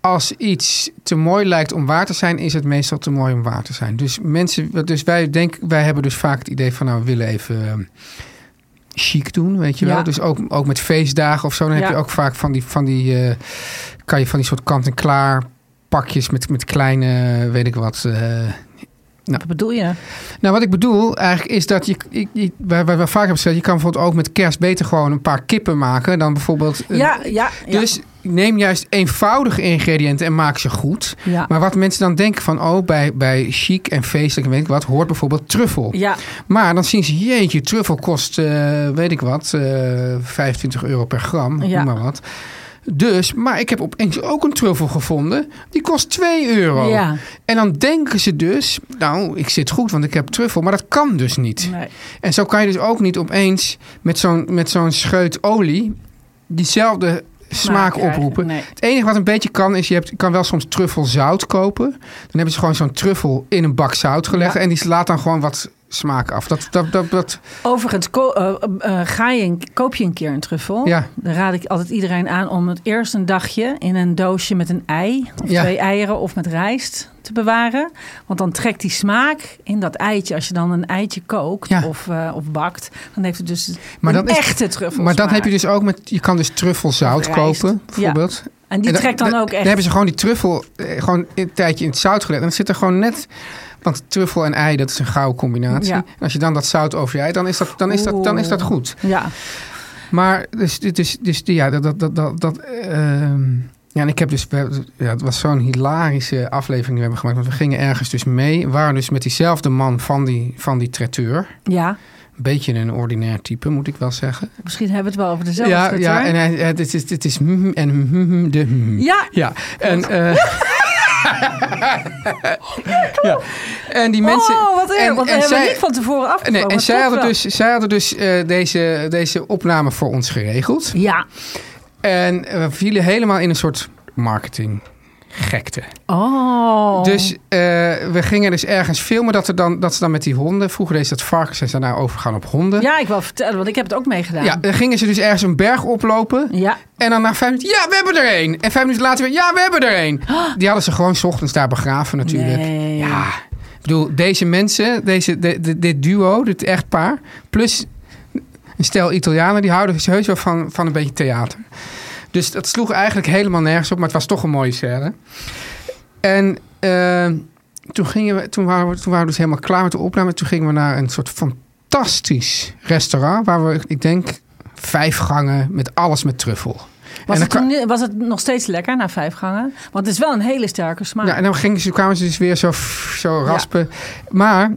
als iets te mooi lijkt om waar te zijn, is het meestal te mooi om waar te zijn. Dus mensen, dus wij denken, wij hebben dus vaak het idee van nou, we willen even eh, chic doen, weet je wel.
Ja.
Dus ook, ook met feestdagen of zo, dan heb
Ja.
je ook vaak van die, van die eh, kan je van die soort kant-en-klaar pakjes met, met kleine, weet ik wat. eh,
Wat bedoel je?
nou, wat ik bedoel eigenlijk is dat je, ik, ik, waar, waar we vaak hebben gezegd, je kan bijvoorbeeld ook met kerst beter gewoon een paar kippen maken dan bijvoorbeeld. eh,
Ja, ja, ja.
Dus neem juist eenvoudige ingrediënten en maak ze goed.
ja.
Maar wat mensen dan denken van, oh, bij, bij chic en feestelijk en weet ik wat, hoort bijvoorbeeld truffel.
ja,
Maar dan zien ze, jeetje, truffel kost, eh, weet ik wat, eh 25 euro per gram,
Ja.
noem maar wat. Dus, maar ik heb opeens ook een truffel gevonden, die kost 2 euro.
ja.
En dan denken ze dus, nou, ik zit goed, want ik heb truffel. Maar dat kan dus niet.
Nee. Nou,
En zo kan je dus ook niet opeens met zo'n, met zo'n scheut olie diezelfde smaak
krijgen,
oproepen.
nee.
Het enige wat een beetje kan, is je hebt, je kan wel soms truffelzout kopen. Dan hebben ze gewoon zo'n truffel in een bak zout gelegd.
Ja.
En die laat dan gewoon wat smaak af. Dat, dat, dat, dat,
Overigens, ko- eh, eh, ga je een- koop je een keer een truffel.
Ja.
Dan raad ik altijd iedereen aan om het eerst een dagje in een doosje met een ei. Of
Ja.
twee eieren of met rijst te bewaren. Want dan trekt die smaak in dat eitje. Als je dan een eitje kookt
Ja.
of, eh, of bakt. Dan heeft het dus
Maar
een
dat is-
echte truffel.
maar dan heb je dus ook met, je kan dus truffelzout
Of rijst.
kopen,
Ja.
bijvoorbeeld.
En die
En
trekt dan ook echt.
Dan hebben ze gewoon die truffel eh, gewoon een tijdje in het zout gelegd. En dan zit er gewoon net... Want truffel en ei, dat is een gouden combinatie.
Ja.
En als je dan dat zout over je ei, dan is dat, dan is dat, dan is dat
Oeh.
goed.
Ja,
Maar dus, dus, dus ja, dat... dat, dat, dat, dat, ehm, ja, en ik heb dus... we- Ja, het was zo'n hilarische aflevering die we hebben gemaakt. Want we gingen ergens dus mee. We waren dus met diezelfde man van die, van die traiteur.
ja.
Een beetje een ordinair type, moet ik wel zeggen.
Misschien hebben we het wel over dezelfde
ja,
truffel.
ja, en hij, het is, het is, het is mm, en mm, mm, de mm.
ja,
Ja, en. eh, ja. En die mensen.
oh, wat erg.
en-
Want we
en
hebben
zij-
niet van tevoren afgesproken.
Nee, en
maar
zij
toch
hadden
wel.
dus, zij hadden dus eh, deze, deze opname voor ons geregeld.
Ja.
En eh, we vielen helemaal in een soort marketing gekte.
Oh.
Dus eh, we gingen dus ergens filmen dat, er dan, dat ze dan met die honden... Vroeger deed ze dat varkens en ze daarna overgaan op honden.
Ja, ik wil vertellen, want ik heb het ook meegedaan.
Ja, dan gingen ze dus ergens een berg oplopen.
Ja.
En dan na vijf minuten, ja, we hebben er één. En vijf minuten later weer, ja, we hebben er één. Die hadden ze gewoon 's ochtends daar begraven natuurlijk.
Ah. Nee.
Ja, ik bedoel, deze mensen, deze, de- de- dit duo, dit echtpaar... plus een stel Italianen, die houden dus heus wel van, van een beetje theater. Dus dat sloeg eigenlijk helemaal nergens op, maar het was toch een mooie scène. En eh, toen, gingen we, toen, waren we, toen waren we dus helemaal klaar met de opname. Toen gingen we naar een soort fantastisch restaurant... waar we, ik denk, vijf gangen met alles met truffel.
Was,
en
het
dan kwa-
toen- was het nog steeds lekker na vijf gangen? Want het is wel een hele sterke smaak.
Ja, en dan gingen ze, kwamen ze dus weer zo, f- zo raspen. Maar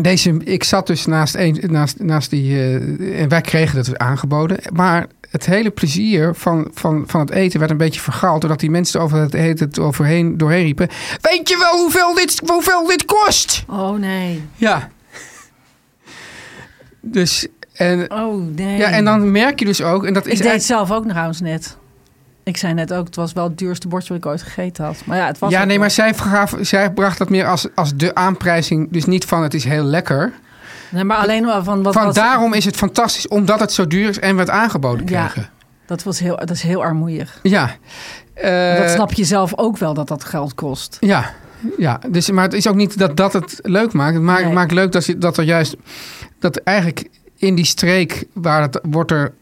deze, ik zat dus naast, een, naast, naast die... eh, en wij kregen dat aangeboden. Maar het hele plezier van, van, van het eten werd een beetje vergaald... doordat die mensen er over het eten het overheen, doorheen riepen... Weet je wel hoeveel dit, hoeveel dit kost?
Oh nee.
Ja. Dus... En,
Oh nee.
ja, en dan merk je dus ook... En dat
ik
is
deed het
eigenlijk-
zelf ook trouwens net. Ik zei net ook, het was wel het duurste bordje wat ik ooit gegeten had. Maar ja, het was
ja,
ook
nee,
wel.
maar zij, gaf, zij bracht dat meer als, als de aanprijzing. Dus niet van het is heel lekker.
Nee, maar alleen maar van wat
Van
was...
daarom is het fantastisch, omdat het zo duur is en we het aangeboden
Ja.
krijgen.
Dat, was heel, dat is heel armoeig.
Ja. Eh,
dat snap je zelf ook wel dat dat geld kost.
Ja. Ja, dus, maar het is ook niet dat dat het leuk maakt. Het maakt,
Nee.
het maakt leuk dat, je, dat er juist... Dat eigenlijk in die streek waar het wordt er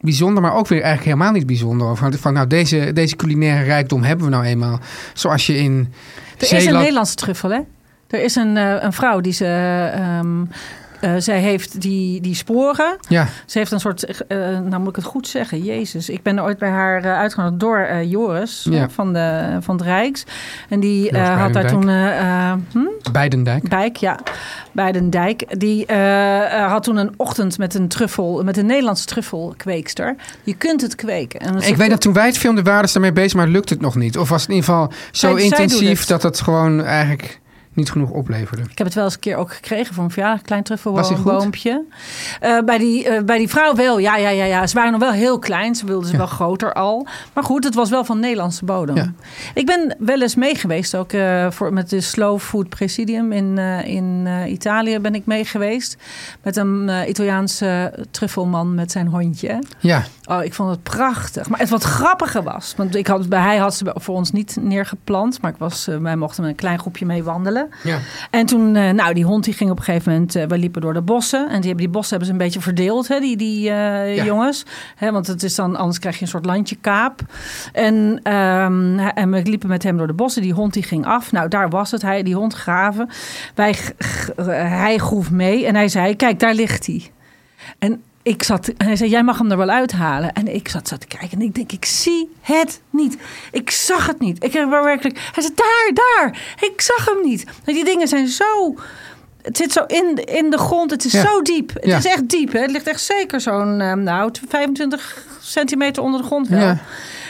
bijzonder... maar ook weer eigenlijk helemaal niet bijzonder over. Van nou, deze, deze culinaire rijkdom hebben we nou eenmaal. Zoals je in
Er is een
Zeeland...
Nederlandse truffel, hè? Er is een, eh, een vrouw die ze... ehm, eh, zij heeft die, die sporen
ja,
Ze heeft een soort, eh, nou moet ik het goed zeggen, Jezus. Ik ben ooit bij haar eh, uitgenodigd door eh, Joris
Ja.
eh, van, de, van het Rijks. En die
Joris
eh, had daar
Beidendijk.
toen, eh, eh, hm?
Beidendijk.
Dijk, ja, bij den Dijk. Die eh, eh, had toen een ochtend met een truffel, met een Nederlandse truffelkweekster. Je kunt het kweken. En
Ik weet dat toen wij het filmden waren ze daarmee bezig, maar lukt het nog niet. Of was het in ieder geval zo
Zij- zij doet
intensief
het.
dat het gewoon eigenlijk niet genoeg opleverde.
Ik heb het wel eens een keer ook gekregen voor een verjaardag, een klein
Was die goed?
truffelboompje. Eh bij, die, eh, bij die vrouw wel, ja, ja, ja, ja. Ze waren nog wel heel klein, ze wilden ze wel groter al. Maar goed, het was wel van Nederlandse bodem.
Ja.
Ik ben wel eens mee geweest, ook eh, voor, met de Slow Food Presidium in, eh, in eh, Italië ben ik mee geweest. Met een eh, Italiaanse truffelman met zijn hondje.
Ja,
Oh, ik vond het prachtig. Maar het wat grappiger was. Want ik had, bij hij had ze voor ons niet neergeplant. Maar ik was, eh, wij mochten met een klein groepje mee wandelen.
ja.
En toen, eh, nou, die hond die ging op een gegeven moment... eh, we liepen door de bossen. En die, hebben- die bossen hebben ze een beetje verdeeld, hè, die, die eh,
Ja.
jongens. Hè, want het is dan, anders krijg je een soort landjekaap. En, ehm, hij- en we liepen met hem door de bossen. Die hond die ging af. Nou, daar was het. Hij, die hond graven. Wij, g- g- hij groef mee. En hij zei, kijk, daar ligt hij. En ik zat, en hij zei, jij mag hem er wel uithalen. En ik zat zo te kijken en ik denk, ik zie het niet. Ik zag het niet. Ik heb wel werkelijk, hij zei, daar, daar. Ik zag hem niet. En die dingen zijn zo, het zit zo in, in de grond. Het is
Ja.
zo diep. Het
Ja.
is echt diep. Hè? Het ligt echt zeker zo'n, eh, nou, 25 centimeter onder de grond wel.
Ja.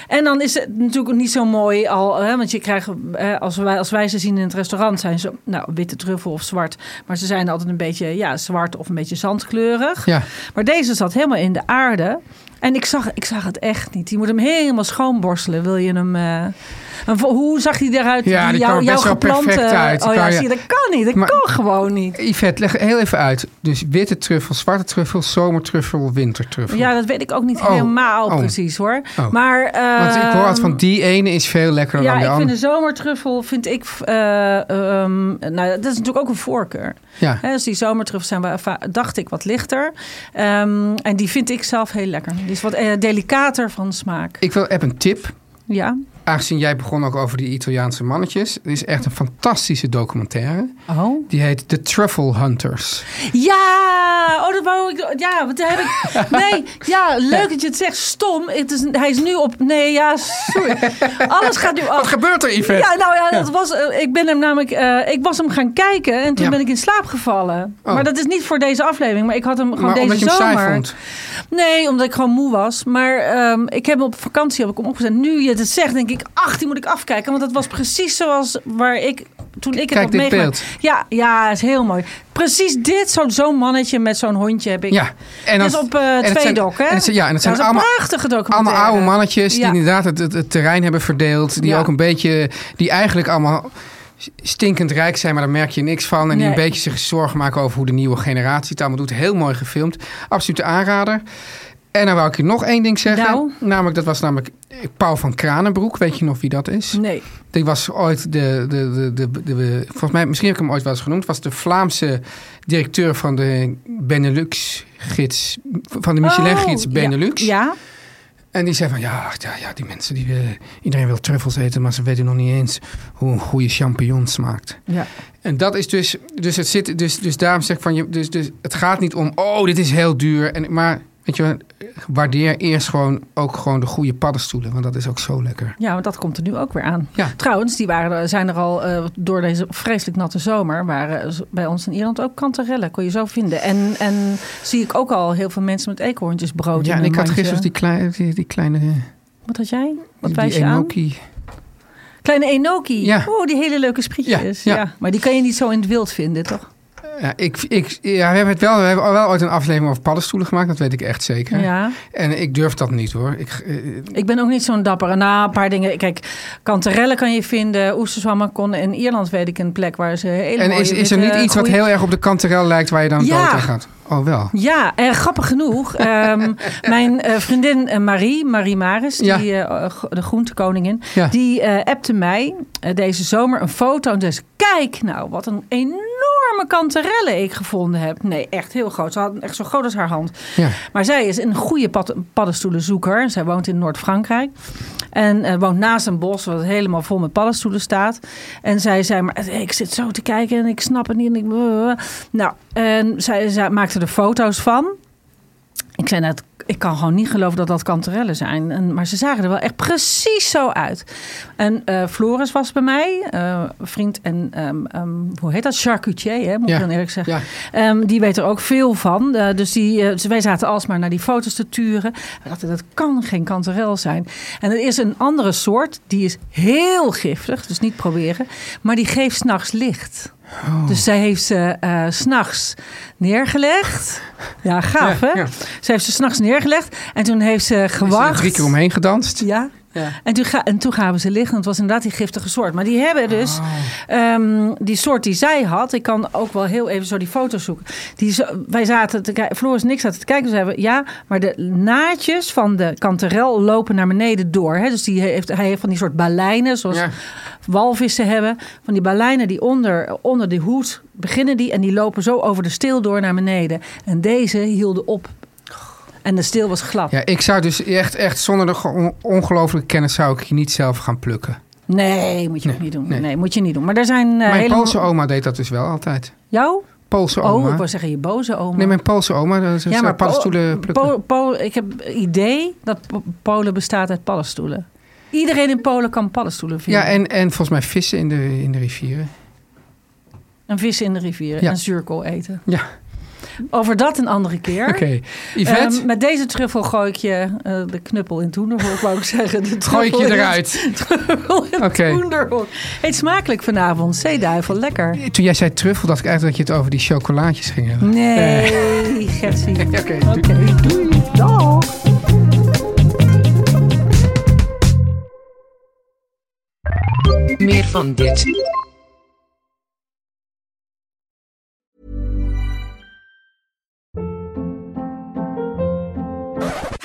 En dan is het natuurlijk niet zo mooi al, hè, want je krijgt, eh, als, wij, als wij ze zien in het restaurant, zijn ze nou, witte truffel of zwart. Maar ze zijn altijd een beetje ja, zwart of een beetje zandkleurig.
Ja.
Maar deze zat helemaal in de aarde. En ik zag, ik zag het echt niet. Je moet hem helemaal schoonborstelen. Wil je hem. eh, en voor- hoe zag hij eruit?
Ja, die kwam er best wel perfect uit. Die
Oh ja,
kwam-
zie je, dat kan niet. Dat
Maar-
kan gewoon niet.
Yvette, leg heel even uit. Dus witte truffel, zwarte truffel, zomertruffel, wintertruffel.
Ja, dat weet ik ook niet
Oh,
helemaal
oh.
precies hoor.
Oh.
Maar,
Want ik hoor altijd
ehm,
van die ene is veel lekkerder
Ja,
dan de
ik vind
andere.
de zomertruffel, vind ik, eh, ehm, nou, dat is natuurlijk ook een voorkeur.
Ja.
Hè, dus die zomertruffels zijn, wel va- dacht ik, wat lichter. Ehm, en die vind ik zelf heel lekker. Die is wat eh, delicater van smaak.
Ik wil, heb een tip.
Ja.
Aangezien jij begon ook over die Italiaanse mannetjes. Er is echt een fantastische documentaire.
Oh.
Die heet The Truffle Hunters.
Ja, oh, dat wou ik. Ja, wat heb ik. Nee, ja, leuk dat je het zegt. Stom. Het is, hij is nu op. Nee, ja, sorry. Alles gaat nu
Wat
af.
gebeurt er, Yvette?
Ja, nou ja, dat was, eh, ik ben hem namelijk, eh, ik was hem gaan kijken en toen
Ja.
ben ik in slaap gevallen.
Oh.
Maar dat is niet voor deze aflevering, maar ik had hem gewoon
maar
deze
omdat je hem
zomer.
saai vond.
Nee, omdat ik gewoon moe was. Maar ehm, ik heb hem op vakantie heb ik hem opgezet. Nu je het zegt, denk ik, ach, die moet ik afkijken. Want dat was precies zoals waar ik, toen ik het
Kijk
had
dit
meegemaakt.
beeld.
Ja, ja, is heel mooi. Precies dit, zo'n zo'n mannetje met zo'n hondje heb ik.
Ja. En
Dat
dan-
is op eh
en het zijn-
Tweedok, hè?
en het zijn- ja, en het zijn
dat is een
allemaal-
prachtige documentaire.
Allemaal oude mannetjes die
Ja.
inderdaad het, het, het terrein hebben verdeeld. Die
Ja.
ook een beetje, die eigenlijk allemaal stinkend rijk zijn, maar daar merk je niks van. En die
Nee.
een beetje zich zorgen maken over hoe de nieuwe generatie het allemaal doet. Heel mooi gefilmd. Absolute aanrader. En dan wou ik je nog één ding zeggen.
Nou?
Namelijk, dat was namelijk Paul van Kranenbroek. Weet je nog wie dat is?
Nee.
Die was ooit de, de, de, de, de- volgens mij, misschien heb ik hem ooit wel eens genoemd, was de Vlaamse directeur van de Benelux-gids, van de Michelin-gids
Oh,
Benelux.
Ja. ja.
En die zei van, ja, ja, ja die mensen, die willen, iedereen wil truffels eten, maar ze weten nog niet eens hoe een goede champignon smaakt.
Ja.
En dat is dus, dus het zit, dus, dus daarom zeg ik van, je, dus, dus het gaat niet om, oh, dit is heel duur. En, maar, weet je wel, waardeer eerst gewoon ook gewoon de goede paddenstoelen, want dat is ook zo lekker.
Ja, want dat komt er nu ook weer aan.
Ja.
Trouwens, die waren, er- zijn er al eh, door deze vreselijk natte zomer. waren z- bij ons in Ierland ook kanterellen. Kon je zo vinden. En, en zie ik ook al heel veel mensen met eekhoorntjesbrood.
Ja,
in
en
hun
ik had
mandje.
gisteren die kleine, die, die kleine,
Wat had jij? Wat
die
wijs je aan?
enoki.
Kleine enoki.
Ja.
Oh, die hele leuke sprietjes.
Ja,
Ja,
ja.
Maar die kan je niet zo in het wild vinden, toch?
Ja, ik, ik, ja, we hebben het wel, we hebben wel ooit een aflevering over paddenstoelen gemaakt, dat weet ik eh, echt zeker.
ja.
En ik durf dat niet hoor. Ik, eh,
Ik ben ook niet zo'n dapper. Na een paar dingen. Kijk, kanterellen kan je vinden. Oesterswammerkon. In Ierland weet ik een plek waar ze hele
En
mooie
is, is er niet
witte,
iets wat
eh, goeie-
heel erg op de kanterel lijkt waar je dan
Ja.
dood aan gaat? Oh, wel.
Ja, en grappig genoeg. ehm, mijn eh, vriendin eh, Marie, Marie Maris, die, eh, g- de groentekoningin,
Ja.
die eh, appte mij eh, deze zomer een foto. En zei ze, kijk nou, wat een enorme kanterelle ik gevonden heb. Nee, echt heel groot. Ze had hem echt zo groot als haar hand.
Ja.
Maar zij is een goede pad- paddenstoelenzoeker. Zij woont in Noord-Frankrijk. En eh, woont naast een bos wat helemaal vol met paddenstoelen staat. En zij zei, maar eh, ik zit zo te kijken en ik snap het niet. En ik... Nou, en zij, zij maakte er foto's van. Ik zei, nou, het- ik kan gewoon niet geloven dat dat kanterellen zijn. En, maar ze zagen er wel echt precies zo uit. En eh, Floris was bij mij, eh, vriend en, ehm, ehm, hoe heet dat? Charcutier, hè, moet
Ja.
ik dan eerlijk zeggen.
Ja.
Ehm, die weet er ook veel van. Eh, dus die, eh, dus wij zaten alsmaar naar die foto's te turen. We dachten, dat kan geen kanterel zijn. En er is een andere soort, die is heel giftig, dus niet proberen. Maar die geeft s'nachts licht.
Oh.
Dus zij heeft ze eh, s s'nachts neergelegd. Ja, gaaf
Ja,
hè?
ja.
Ze heeft ze s'nachts neergelegd en toen heeft ze
Ze er
gewacht.
drie keer omheen gedanst.
Ja. En, toen ga, en toen gaven ze liggen. want Het was inderdaad die giftige soort. Maar die hebben dus ehm, die soort die zij had. Ik kan ook wel heel even zo die foto's zoeken. Die, zo- wij zaten te kijken. Floris en ik zaten te kijken. Ze hebben ja, maar de naadjes van de kanterel lopen naar beneden door. Hè? Dus die heeft, hij heeft van die soort baleinen, zoals
Ja.
walvissen hebben. Van die baleinen die onder, onder de hoed beginnen die. En die lopen zo over de steel door naar beneden. En deze hielden op. En de steel was glad.
Ja, ik zou dus echt, echt zonder de ge- ongelooflijke kennis zou ik je niet zelf gaan plukken.
Nee, moet je ook niet doen. Nee.
nee.
moet je niet doen. Maar daar zijn eh,
mijn
hele...
Poolse oma deed dat dus wel altijd.
Jou?
Poolse
Oh,
oma.
ik wou zeggen je boze oma.
Nee, mijn Poolse oma, dat is ja, maar paddenstoelen
Po-
plukken.
Po- Po- ik heb het idee dat Po- Polen bestaat uit paddenstoelen. Iedereen in Polen kan paddenstoelen vinden.
ja, en, en volgens mij vissen in de, in de rivieren.
En vissen in de rivier
Ja.
en zuurkool eten.
Ja,
Over dat een andere keer.
oké. Yvette,
Ehm, met deze truffel gooi ik je eh, de knuppel in het hoenderhok, wou ik zeggen. De
gooi ik
truffel
je
in het-
eruit.
truffel in het
Oké.
hoenderhok. Eet smakelijk vanavond. Zeeduivel, lekker.
Toen jij zei truffel, dacht ik eigenlijk dat je het over die chocolaatjes ging
Mm.
hebben.
Nee, Gertie.
Oké, doei.
Oké, doei. Dag.
Meer van dit.